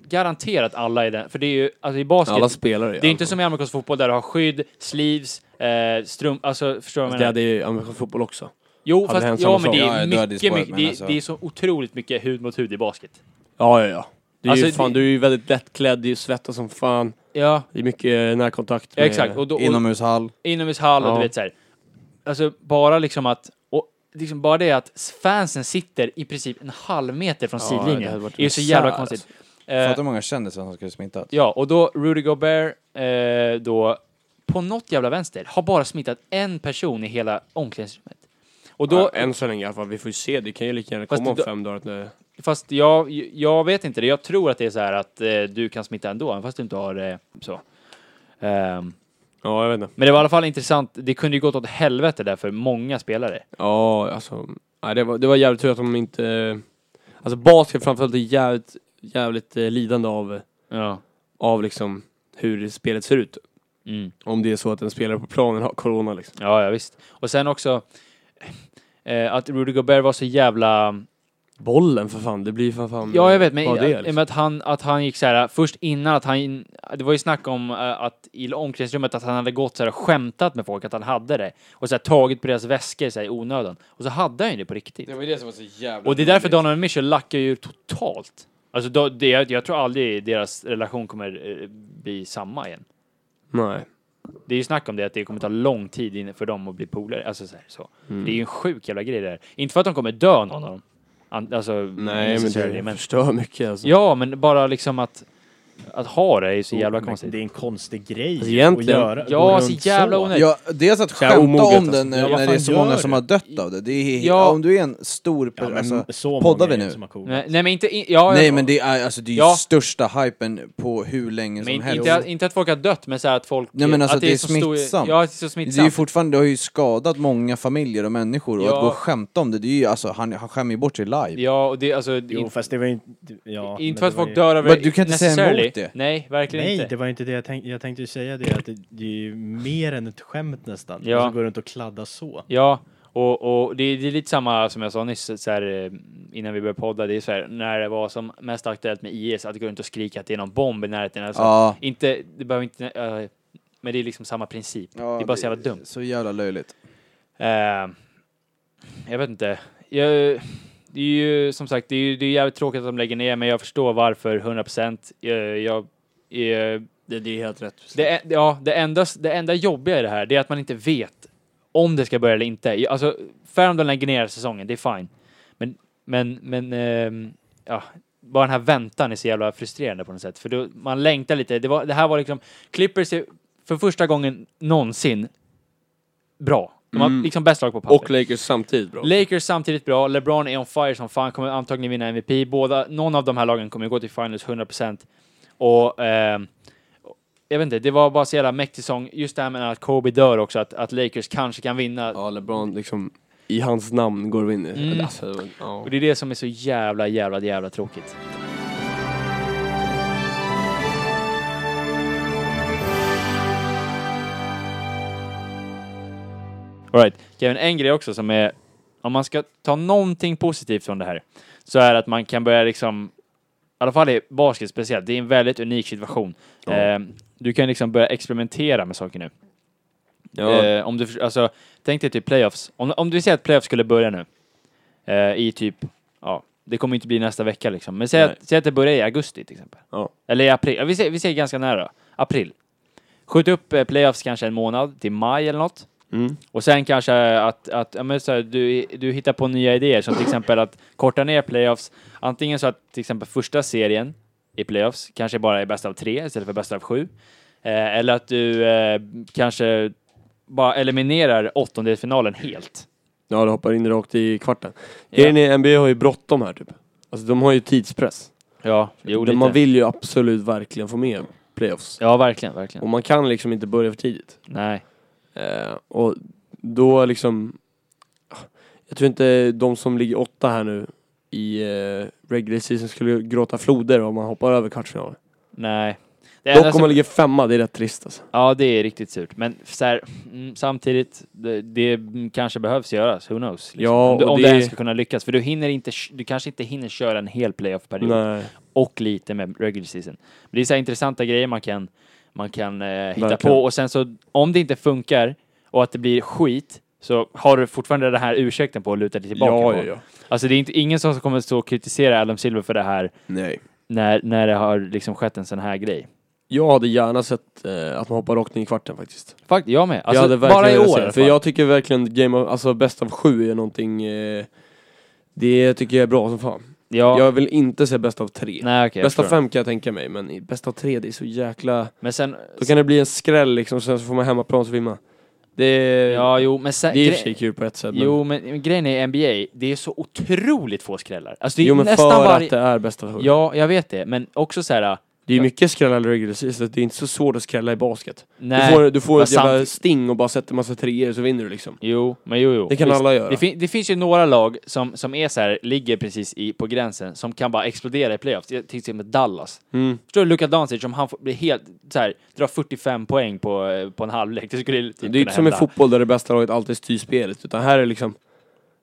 S1: garanterat alla i den, för det är ju, alltså i basket,
S3: Alla spelare
S1: det är inte som i amerikansk fotboll där du har skydd, sleeves, eh, strump, alltså förstår du vad jag
S3: Det
S1: menar?
S3: hade ju amerikansk fotboll också.
S1: Jo,
S3: hade
S1: fast,
S3: hänt
S1: ja men
S3: samma
S1: det
S6: sak. Ja,
S1: är
S6: ja, då hade
S1: mycket,
S6: det spårat,
S1: mycket
S6: men
S1: det,
S6: alltså-
S1: det är så otroligt mycket hud mot hud i basket.
S3: Ja, ja, ja. Det är ju
S1: Alltså,
S3: fan,
S1: det-
S3: du är ju väldigt lättklädd, du svettas som fan.
S1: Ja,
S3: Det är mycket eh, närkontakt. med-
S1: exakt. Och då, och,
S6: Inomhushall.
S1: inomhushall och
S3: Ja.
S1: du vet så här. Alltså bara liksom att, och liksom bara det att fansen sitter i princip en halv meter från
S3: Ja, det hade
S1: sidlinjen.
S3: varit
S1: Det är ju så
S3: en
S1: jävla
S3: sär,
S1: konstigt.
S6: Fattar
S1: Eh,
S6: hur många kändisar som skulle smittat.
S1: ja, och då Rudy Gobert eh, då på något jävla vänster har bara smittat en person i hela omklädningsrummet. Och då,
S3: ja, än så länge i alla fall. Vi får ju se. Det kan ju lika gärna
S1: Fast
S3: komma om
S1: då-
S3: fem dagar. att det-
S1: Fast jag, jag vet inte det. Jag tror att det är så här att eh, du kan smitta ändå, även fast du inte har eh, så. Ehm,
S3: Ja, jag vet inte.
S1: men det var i alla fall intressant. Det kunde ju gått åt helvete där för många spelare.
S3: Ja, alltså. Nej, det, var, det var jävligt tur att de inte... eh, Alltså basket framförallt är jävligt, jävligt eh, lidande av,
S1: Ja.
S3: av liksom hur spelet ser ut.
S1: Mm.
S3: Om det är så att en spelare på planen har corona liksom.
S1: Ja, ja, visst. Och sen också eh, att Rudy Gobert var så jävla...
S3: Bollen för fan, det blir för fan...
S1: Ja, jag vet, men
S3: vad det är,
S1: i- i och
S3: liksom.
S1: med att han, att han gick så här först innan att han... Det var ju snack om eh, att i omklädningsrummet att han hade gått så här och skämtat med folk att han hade det och så här tagit på deras väskor så här, i onödan. Och så hade han ju det på riktigt.
S4: var det som var så jävla...
S1: Och det är därför Donovan Mitchell lackar ju totalt. Alltså, då, det, jag, jag tror aldrig deras relation kommer eh, bli samma igen.
S3: Nej.
S1: Det är ju snack om det, att det kommer ta lång tid in- för dem att bli polare. Alltså, så här, så.
S6: Mm.
S1: Det är ju en sjuk jävla grej det där. Inte för att de kommer dö någon av dem. An, alltså,
S3: Nej, men
S1: necessarily,
S3: det förstör mycket alltså.
S1: Ja, men bara liksom att, att ha det är ju så jävla
S2: Men
S1: konstigt.
S2: Det är en konstig grej
S3: Alltså, egentligen-
S2: att göra. gå
S1: Ja,
S2: runt
S1: så jävla
S2: så.
S1: onödigt.
S6: Ja, dels att
S3: Jävla
S6: skämta
S3: omoget,
S6: om den
S3: alltså.
S6: när,
S2: Ja, vad
S6: när det är
S2: fan
S6: så
S2: gör
S6: många
S2: det?
S6: som har dött av det. det är,
S1: Ja.
S6: ja. Om du är en stor
S2: Ja,
S6: person,
S2: men
S6: alltså,
S2: så många
S6: poddar vi
S2: är det
S6: nu?
S2: Som har coolt.
S1: Nej, nej, men inte... i- Ja, jag-
S6: Nej men det är, alltså, det är ju
S1: Ja.
S6: största hypen på hur länge
S1: men
S6: som
S1: inte,
S6: helst.
S1: inte, att, inte att folk har dött, men så här att folk...
S6: Nej, men alltså,
S1: att
S6: det är
S1: så stor-
S6: smittsamt.
S1: Ja, det är så
S6: Det är ju
S1: smittsamt.
S6: fortfarande, det har ju skadat många familjer och människor och
S1: Ja.
S6: att gå och skämta om det, det är ju alltså, han, han skämmer ju bort sig live.
S1: Ja, och det, alltså...
S2: Jo, fast det var ju inte... Ja, men
S1: inte
S2: det
S1: för att
S2: var
S1: folk
S2: ju-
S1: dör av
S6: Men du kan inte säga emot
S1: necessarily.
S6: det.
S1: Nej, verkligen
S2: Nej,
S1: inte.
S2: det var inte det jag tänkte. Jag tänkte ju säga det att det, det är ju mer än ett skämt nästan.
S1: Ja.
S2: Alltså gå runt och kladda så.
S1: Ja, och, och det, är- det är lite samma som jag sa nyss så här, eh, innan vi började podda. Det är så här, när det var som mest aktuellt med IS, att gå runt och skrika att det är någon bomb i närheten. Alltså,
S6: Ja.
S1: inte, det behöver inte, eh, men det är liksom samma princip.
S6: Ja,
S1: det är bara så jävla dumt.
S6: Så jävla löjligt.
S1: Eh, jag vet inte. Jag, det är ju som sagt, det är, ju- det är jävligt tråkigt att de lägger ner, men jag förstår varför 100 procent. Jag, jag, eh,
S3: Det, det är helt rätt.
S1: det, en- ja, det, enda, det enda jobbiga i det här det är att man inte vet om det ska börja eller inte. Jag- Alltså, fair om de lägger ner säsongen, det är fine. Men, men, men ehm, ja, bara den här väntan är så jävla frustrerande på något sätt. För då, man längtar lite. Det, var, det här var liksom, Clippers är för första gången någonsin bra. De har
S3: Mm.
S1: liksom bäst lag på pappret.
S3: Och Lakers samtidigt bra.
S1: Lakers samtidigt bra, LeBron är on fire som fan, kommer antagligen vinna MVP. Båda, någon av de här lagen kommer gå till finals 100%. Och ehm, jag vet inte, det var bara så jävla mäktig sång. Just det här med att Kobe dör också, att, att Lakers kanske kan vinna.
S3: ja, LeBron liksom, i hans namn går vi in i.
S1: Mm.
S3: Alltså, det var- ja.
S1: Och det är det som är så jävla, jävla, jävla tråkigt. Alright, Kevin, en grej också som är, om man ska ta någonting positivt från det här, så är att man kan börja liksom, i alla fall i basket speciellt, det är en väldigt unik situation. Eh, du kan liksom börja experimentera med saker nu.
S3: Ja.
S1: Eh, om du, förs- alltså, tänk dig typ playoffs. Om, om du säger att playoffs skulle börja nu, eh, i typ, ja, det kommer inte bli nästa vecka liksom. Men säg,
S3: Nej.
S1: att, säg att det börjar i augusti till exempel.
S3: Ja.
S1: Eller i april. Ja, Vi säger, vi säger ganska nära. April. Skjut upp eh, playoffs kanske en månad, till maj eller något.
S3: Mm.
S1: Och sen kanske att, att ja, men så här, du, du hittar på nya idéer, som till exempel att korta ner playoffs. Antingen så att till exempel första serien i playoffs kanske bara är bäst av tre istället för bäst av sju. Eh, eller att du eh, kanske bara eliminerar åttondelsfinalen helt.
S3: ja, det hoppar in rakt i kvarten.
S1: Eh. Ja.
S3: Grejen är, NBA har ju bråttom här typ. Alltså de har ju tidspress.
S1: Ja, jo,
S3: De-
S1: lite.
S3: man vill ju absolut verkligen få med playoffs.
S1: Ja, verkligen, verkligen.
S3: Och man kan liksom inte börja för tidigt.
S1: Nej.
S3: Eh, och då liksom... Jag tror inte de som ligger åtta här nu i eh, regular season skulle gråta floder om man hoppar över kvartsfinalen.
S1: Nej. Det enda
S3: Dock om
S1: som-
S3: man ligger femma, det är rätt trist alltså.
S1: Ja, det är riktigt surt. Men så här, mm, samtidigt, det, det mm, kanske behövs göras. Who knows? Liksom.
S3: Ja,
S1: om du,
S3: och
S1: om
S3: det-
S1: det ens ska kunna lyckas. För du, hinner inte, du kanske inte hinner köra en hel playoff-period.
S3: Nej.
S1: Och lite med regular season. Men det är så här intressanta grejer man kan, man kan eh, hitta
S3: Verkligen.
S1: på. Och sen så, om det inte funkar och att det blir skit, så har du fortfarande den här ursäkten på att luta dig tillbaka
S3: Ja,
S1: på.
S3: ja, ja.
S1: Alltså det är inte, ingen som kommer stå och kritisera Adam Silver för det här
S3: Nej.
S1: när, när det har liksom skett en sån här grej.
S3: Jag hade gärna sett eh, att man hoppar rakt in i kvarten faktiskt.
S1: Fakt, jag med.
S3: jag
S1: Alltså,
S3: hade verkligen
S1: bara i
S3: velat
S1: år. i
S3: se det,
S1: alla
S3: För
S1: fall.
S3: jag tycker verkligen game of, alltså bäst av sju är någonting... Eh, det tycker jag är bra som fan.
S1: ja.
S3: Jag vill inte se bäst av tre.
S1: Nej, okej, jag
S3: bäst av
S1: förstår.
S3: fem kan jag tänka mig, men i bäst av tre, det är så jäkla...
S1: Men sen,
S3: Då kan det bli en skräll liksom, sen så får man hemmaplan så vill man Det är,
S1: Ja, jo, men sen,
S3: det är i och
S1: gre-
S3: för sig kul på ett sätt. men-
S1: Jo, men men grejen är i NBA, det är så otroligt få skrällar. Alltså det är
S3: jo men
S1: nästan
S3: för
S1: varje...
S3: att det är bästa för
S1: Ja, jag vet det, men också så här... äh,
S3: Det är ju mycket skrällar i regular season, det är inte så svårt att skrälla i basket.
S1: Nej,
S3: Du får, du får
S1: vad
S3: ett jävla
S1: sant.
S3: sting och bara sätter massa treor så vinner du liksom.
S1: Jo, men jo, jo.
S3: Det kan
S1: Visst.
S3: alla göra.
S1: Det, fin- det finns ju några lag som, som är så här, ligger precis i, på gränsen, som kan bara explodera i playoffs. Jag- Till exempel Dallas.
S3: Mm.
S1: Förstår du Luka Doncic, om han får- blir helt så här, drar 45 poäng på, eh, på en halvlek, det skulle typ
S3: Det är
S1: kunna
S3: ju inte som i
S1: hända.
S3: fotboll där det bästa laget alltid styr spelet, utan här är liksom...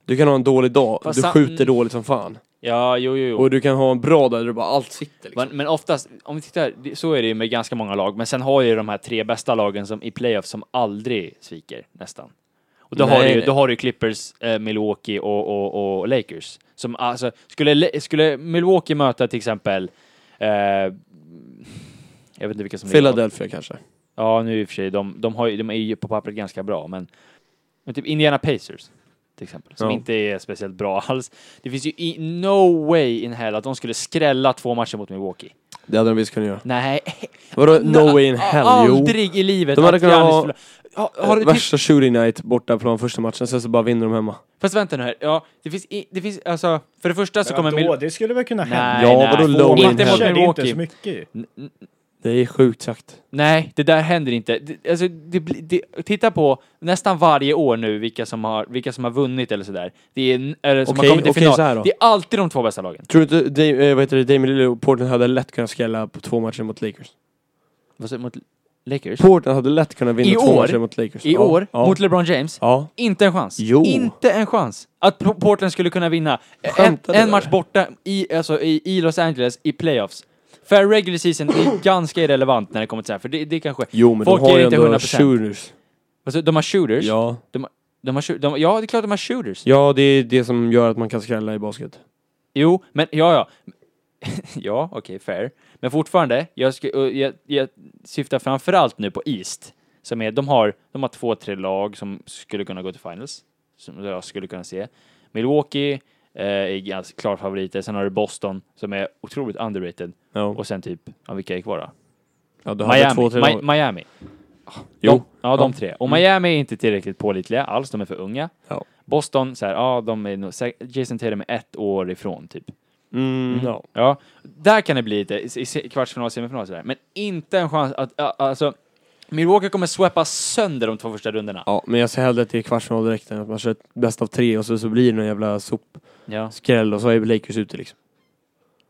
S3: Du kan ha en dålig dag,
S1: Fast
S3: du
S1: sam-
S3: skjuter dåligt som fan.
S1: Ja, jo, jo, jo.
S3: Och du kan ha en bra dag där du bara allt sitter liksom.
S1: Men, men oftast, om vi tittar, det- så är det ju med ganska många lag, men sen har ju de här tre bästa lagen som, i playoff som aldrig sviker, nästan. Och då, har,
S3: Nej,
S1: du, ju-
S3: nej.
S1: då har du ju Clippers, eh, Milwaukee och, och, och Lakers. Som, alltså, skulle, Le- skulle Milwaukee möta till exempel eh, jag vet inte vilka som ligger på-
S3: Philadelphia kanske.
S1: Ja, nu i och för sig, de, de, har, ju- de är ju på pappret ganska bra, men, men typ Indiana Pacers till exempel, som
S3: Ja.
S1: inte är speciellt bra (laughs) alls. Det finns ju i, no way in hell att de skulle skrälla två matcher mot Milwaukee.
S3: Det hade de visst kunnat göra.
S1: Nej.
S3: Vadå (laughs) no way in hell? jo.
S1: Aldrig i livet.
S3: De hade
S1: att
S3: kunnat
S1: Giannis
S3: ha-
S1: förlorar. ha, har du titt-
S3: Värsta shooting night borta på de första matchen, sen så bara vinner de hemma.
S1: Fast vänta nu här. Ja, det finns, i, det finns alltså, för det första så
S2: Ja,
S1: kommer
S2: då,
S1: Mil-
S2: det skulle väl kunna hända.
S1: Nej,
S3: Ja,
S1: nej.
S3: vadå
S1: Få
S3: low
S1: inte
S3: in
S1: mot
S2: Matcher, det är inte
S1: Milwaukee.
S2: så mycket ju.
S1: N- n-
S3: Det är sjukt sagt.
S1: Nej, det där händer inte. Det, alltså, det, bli- det, titta på nästan varje år nu vilka som har, vilka som har vunnit eller sådär. Det är, n- eller som
S3: Okej,
S1: har kommit till
S3: okej, så här
S1: final.
S3: då.
S1: Det är alltid de två bästa lagen.
S3: Tror du inte Dame, eh, vad heter det, Damien Lillard och Portland hade lätt kunnat skrälla på två matcher mot Lakers?
S1: Vad säger du, Mot Lakers?
S3: Portland hade lätt kunnat vinna
S1: I
S3: två
S1: år?
S3: matcher mot Lakers.
S1: I
S3: ja.
S1: år,
S3: Ja.
S1: mot LeBron James.
S3: ja.
S1: Inte en chans.
S3: Jo.
S1: Inte en chans. Att P- Portland skulle kunna vinna en,
S3: Skämtar du,
S1: en match
S3: eller?
S1: borta i, alltså, i, i Los Angeles i playoffs. För regular season det
S3: (clears throat)
S1: är ganska irrelevant när det kommer till så här, för det, det kanske...
S3: Jo men
S1: Folk
S3: de har
S1: ger
S3: ju
S1: inte
S3: ändå
S1: 100%.
S3: shooters.
S1: Alltså, de har shooters.
S3: Ja.
S1: De har, shoo- de, ja, det är klart de har shooters.
S3: ja, det är det som gör att man kan skrälla i basket.
S1: Jo, men ja, ja. (laughs) ja, okej, fair. Men fortfarande, jag, sku, och jag, jag syftar framförallt nu på East. Som är, de, har, de har två, tre lag som skulle kunna gå till finals. Som jag skulle kunna se. Milwaukee eh, är ganska klar favoriter. Sen har du Boston som är otroligt underrated.
S3: Ja,
S1: Och sen typ, ja, vilka är kvar då?
S3: ja du hade
S1: Miami.
S3: två, tre
S1: Mi-
S3: lag.
S1: Miami.
S3: Jo.
S1: De, ja, de
S3: Ja.
S1: tre. Och
S3: Mm.
S1: Miami är inte tillräckligt pålitliga alls, de är för unga.
S3: Ja.
S1: Boston, så här, ja, de är nog, sä- Jason Tatum är ett år ifrån typ.
S3: Mm,
S1: Mm.
S3: ja.
S1: Ja, där kan det bli lite i, i se- kvartsfinal, semifinal sådär. Men inte en chans att, ja, alltså, Milwaukee kommer swepa sönder de två första rundorna.
S3: ja, men jag ser hellre att det är kvartsfinal direkt än att man kör ett bäst av tre och så, så blir det någon jävla sopskräll
S1: Ja,
S3: och så är Lakers ute liksom.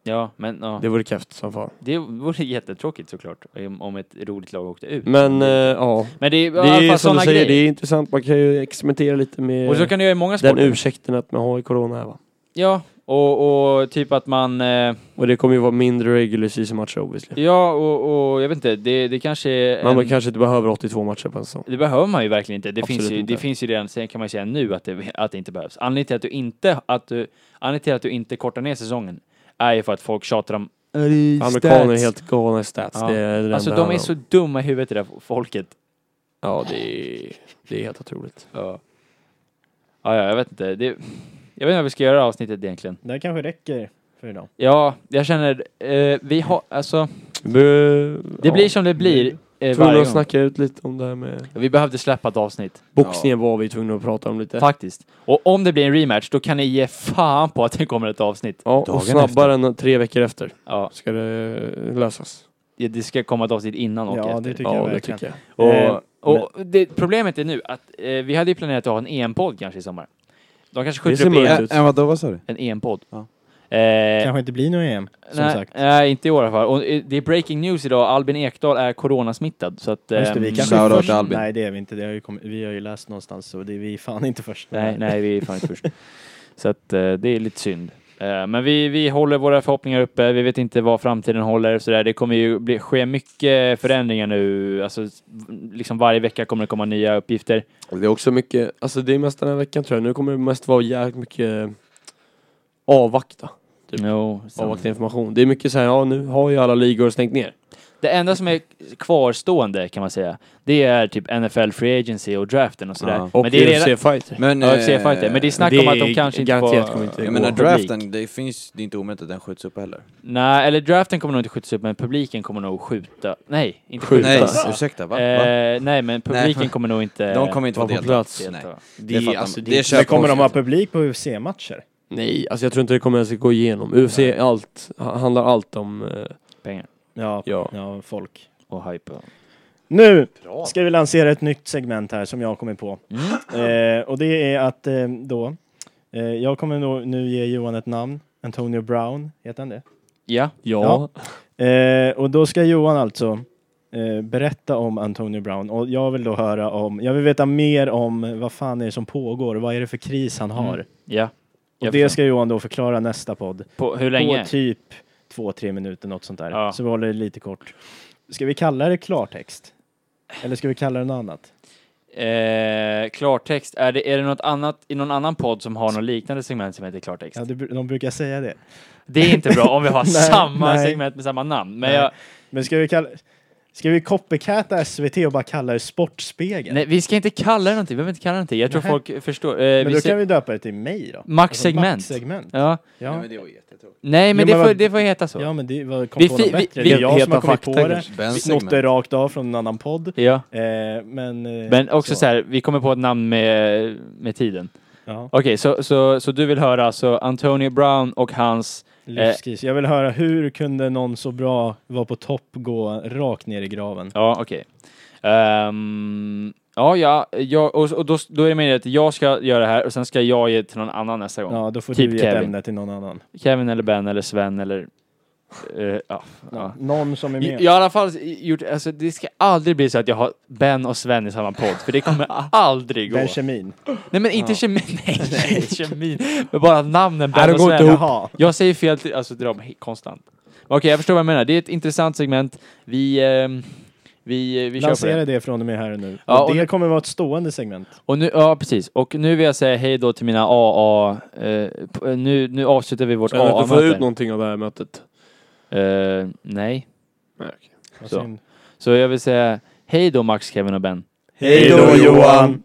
S1: ja men ja.
S3: Det vore kräft som fan.
S1: Det vore jättetråkigt såklart, om- om ett roligt lag åkte ut.
S3: Men eh, ja,
S1: men det är,
S3: det är
S1: i alla
S3: ju
S1: fall
S3: som du
S1: sådana
S3: säger,
S1: grejer.
S3: det är intressant. Man kan ju experimentera lite med
S1: Och så kan du göra i många
S3: den
S1: sporter.
S3: ursäkten att man har i corona här va.
S1: Ja, och, och typ att man... Eh,
S3: Och det kommer ju vara mindre regular season matcher obviously.
S1: ja, och, och jag vet inte, det, det kanske är...
S3: Man
S1: en-
S3: kanske inte behöver 82 matcher på en säsong.
S1: Det behöver man ju verkligen inte. Det,
S3: Absolut
S1: finns ju,
S3: inte.
S1: det finns ju redan, sen kan man ju säga nu att det, att det inte behövs. Anledningen till att du inte, att du, anledningen till att du inte kortar ner säsongen är ju för att folk tjatar om
S3: Amerikaner är helt galna i stats.
S1: Ja.
S3: Det är det
S1: Alltså
S3: enda
S1: de
S3: han
S1: är
S3: har.
S1: så dumma i huvudet det där folket.
S3: Ja, det är, det är helt otroligt.
S1: Ja. Ja, jag vet inte. Det, jag vet inte vad vi ska göra i det här avsnittet egentligen.
S2: Det här kanske räcker för idag.
S1: Ja, jag känner, eh, vi har, alltså, det
S3: ja,
S1: blir som det blir eh,
S3: Tvungna
S1: varje
S3: att
S1: gång.
S3: snacka ut lite om det här med...
S1: Vi behövde släppa ett avsnitt,
S3: Boxningen var vi tvungna att prata om lite.
S1: faktiskt. Och om det blir en rematch, då kan ni ge fan på att det kommer ett avsnitt.
S3: Ja,
S4: Dagen
S3: och snabbare än tre veckor efter
S1: Ja,
S3: ska det lösas.
S1: det ska komma ett avsnitt innan och
S2: Ja,
S1: efter.
S2: det tycker jag
S3: Ja, det
S2: verkligen.
S3: tycker jag.
S1: Och,
S2: Eh,
S1: och det, problemet är nu att eh, vi hade ju planerat att ha en EM-podd kanske i sommar. De kanske
S3: Det
S1: skjuter
S3: ser
S1: upp en,
S3: mörkt
S6: Ä-
S3: ut.
S6: Ä- vadå, vad sa du?
S1: en EM-podd.
S6: Ja.
S1: Eh,
S2: Kanske inte blir något EM, som
S1: nej,
S2: sagt.
S1: nej, inte i år i alla fall. Och eh, det är breaking news idag. Albin Ekdal är coronasmittad. Så att,
S2: Just det, vi
S1: ehm,
S2: kanske
S6: Shoutout
S2: är
S6: till
S2: först.
S6: Albin.
S2: Nej, det är vi inte. Det har ju kommit, vi har ju läst någonstans, så det är vi fan inte först. med
S1: Nej,
S2: det här.
S1: nej, vi är fan inte först. Så att eh, det är lite synd. Eh, men vi, vi håller våra förhoppningar uppe. Vi vet inte vad framtiden håller. Så där. Det kommer ju bli, ske mycket förändringar nu. Alltså, s- liksom varje vecka kommer det komma nya uppgifter.
S3: Det är också mycket, alltså det är mest den här veckan tror jag. Nu kommer det mest vara jävligt mycket avvakta. Typ.
S1: Jo, sant. Typ.
S3: Avvakta information. Det är mycket så här, ja nu har ju alla ligor stängt ner.
S1: Det enda som är kvarstående kan man säga, det är typ NFL Free Agency och draften och sådär.
S4: Ja.
S3: Och
S1: Men det är redan,
S3: UFC-fighter.
S6: Men,
S1: Ja,
S6: eh,
S1: UFC-fighter. Men det är snack
S3: det
S1: om att de
S3: är
S1: kanske inte
S3: garanterat
S1: får...
S3: kommer inte
S6: jag
S3: gå.
S6: menar
S1: publik.
S6: draften, det, finns, det är inte omöjligt att den skjuts upp heller.
S1: Nej, eller draften kommer nog inte skjutas upp, men publiken kommer nog skjuta. Nej, inte skjuta.
S3: Skjuta.
S6: Nej,
S3: Va?
S6: ursäkta, va? va?
S1: Eh, nej, men publiken
S6: Nej.
S1: kommer nog inte...
S6: De kommer inte
S1: vara
S6: få delta.
S1: delta.
S6: Nej.
S3: Det,
S6: fattar
S3: är
S6: man.
S3: alltså, det,
S6: Det
S3: är
S6: är
S3: så-
S6: kört.
S2: Men kommer de ha publik på UFC-matcher?
S3: Nej, alltså jag tror inte det kommer ens gå igenom. UFC allt, ha- handlar allt om... eh,
S1: Pengar
S2: Ja,
S3: Ja.
S2: ja, folk.
S1: och hype. och-
S2: Nu ska vi lansera ett nytt segment här som jag har kommit på.
S1: Mm.
S2: Eh, och det är att eh, då, eh, jag kommer nog nu ge Johan ett namn. Antonio Brown, heter han det?
S1: Ja.
S3: ja.
S2: Eh, och då ska Johan alltså eh, berätta om Antonio Brown och jag vill då höra om, jag vill veta mer om vad fan är det som pågår och vad är det för kris han har.
S1: Mm. Ja.
S2: Och
S1: Jag
S2: det
S1: förstår.
S2: ska Johan då förklara nästa podd.
S1: På, hur länge?
S2: På typ två, tre minuter, något sånt där.
S1: Ja.
S2: Så vi håller det lite kort. Ska vi kalla det klartext? Eller ska vi kalla det något annat?
S1: Eh, klartext. Är det, är det något annat i någon annan podd som har något liknande segment som heter klartext?
S2: Ja, det, br- de brukar säga det.
S1: Det är inte bra om vi
S2: (laughs)
S1: har
S2: Nej,
S1: samma
S2: nej.
S1: segment med samma namn. Men
S2: Nej.
S1: jag,
S2: Men ska vi kalla... Ska vi copycatta SVT och bara kalla det Sportspegeln?
S1: nej, vi ska inte kalla det någonting. Vi behöver inte kalla det någonting. Jag tror
S2: Nej.
S1: folk förstår. Eh,
S2: Men
S1: vi
S2: då
S1: ser-
S2: kan vi Alltså, döpa det till mig då.
S1: Maxsegment.
S2: Maxsegment. Ja.
S1: ja.
S6: Nej,
S2: Ja.
S6: men det var jättetråkigt.
S1: Nej, men,
S2: Jo, men
S1: det, får,
S2: vad-
S1: det får heta så.
S2: men det var, kom
S1: Vi
S2: på
S1: fi-
S2: något
S1: vi-
S2: bättre.
S1: vi-
S2: det är jag som
S3: Heta
S2: har kommit på
S3: fakta
S2: det.
S3: kanske.
S6: Ben
S2: Snott det
S6: segment.
S2: rakt av från en annan podd.
S1: Ja.
S2: Eh, men, eh,
S1: Men också så. här, vi kommer på ett namn med, med tiden.
S2: Ja,
S1: Okej, så, så, så du vill höra alltså Antonio Brown och hans...
S2: livskris. Jag vill höra hur kunde någon så bra vara på topp gå rakt ner i graven?
S1: Ja, okej. Ehm, ja, ja, jag, och, och då, då är det meningen att jag ska göra det här och sen ska jag ge till någon annan nästa gång.
S2: Ja, då får
S1: Typ
S2: du ge ett
S1: Kevin.
S2: ämne till någon annan.
S1: Kevin eller Ben eller Sven eller... eh, ja, ja.
S2: Någon som är
S1: Jag
S2: med.
S1: jag har i alla fall gjort, alltså det ska aldrig bli så att jag har Ben och Sven i samma podd, för det
S3: (laughs)
S1: kommer aldrig gå.
S2: Den kemin.
S1: Nej men inte kemin, (laughs) nej, nej kemin, men bara namnen Ben
S3: Nej, de
S1: och
S3: går
S1: Sven.
S3: inte ihop.
S2: Jaha.
S1: Jag säger fel till, alltså, till dem he- konstant. Okej, jag förstår vad jag menar. Det är ett intressant segment. Vi, ehm, vi, eh, vi kör på
S2: Lansera
S1: det.
S2: det från och med här och nu.
S1: Ja,
S2: och
S1: och
S2: det
S1: nu-
S2: kommer vara ett stående segment.
S1: Och nu, ja precis. Och nu vill jag säga hej då till mina AA, eh, p- nu, nu avslutar vi vårt
S3: Så att du får ut
S1: AA-möte.
S3: någonting av det här mötet.
S1: Eh, nej.
S3: Nej, okej.
S2: Vad
S1: Så.
S2: synd.
S1: Så jag vill säga hej då Max, Kevin och Ben.
S2: Hej då, Johan!